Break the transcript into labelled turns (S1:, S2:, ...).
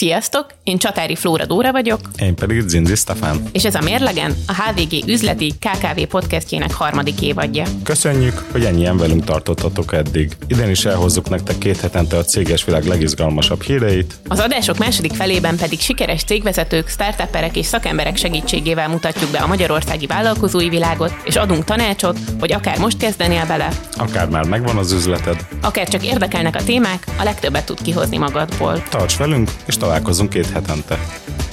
S1: Sziasztok, én Csatári Flóra Dóra vagyok,
S2: Én pedig Zinzi Stefán.
S1: és ez a Mérlegen a HVG üzleti KKV podcastjének harmadik évadja.
S2: Köszönjük, hogy ennyien velünk tartottatok eddig. Idén is elhozzuk nektek két hetente a céges világ legizgalmasabb híreit.
S1: Az adások második felében pedig sikeres cégvezetők, startupperek és szakemberek segítségével mutatjuk be a magyarországi vállalkozói világot, és adunk tanácsot, hogy akár most kezdenél bele,
S2: Akár már megvan az üzleted,
S1: akár csak érdekelnek a témák, a legtöbbet tud kihozni magadból.
S2: tarts velünk, és találkozunk két hetente.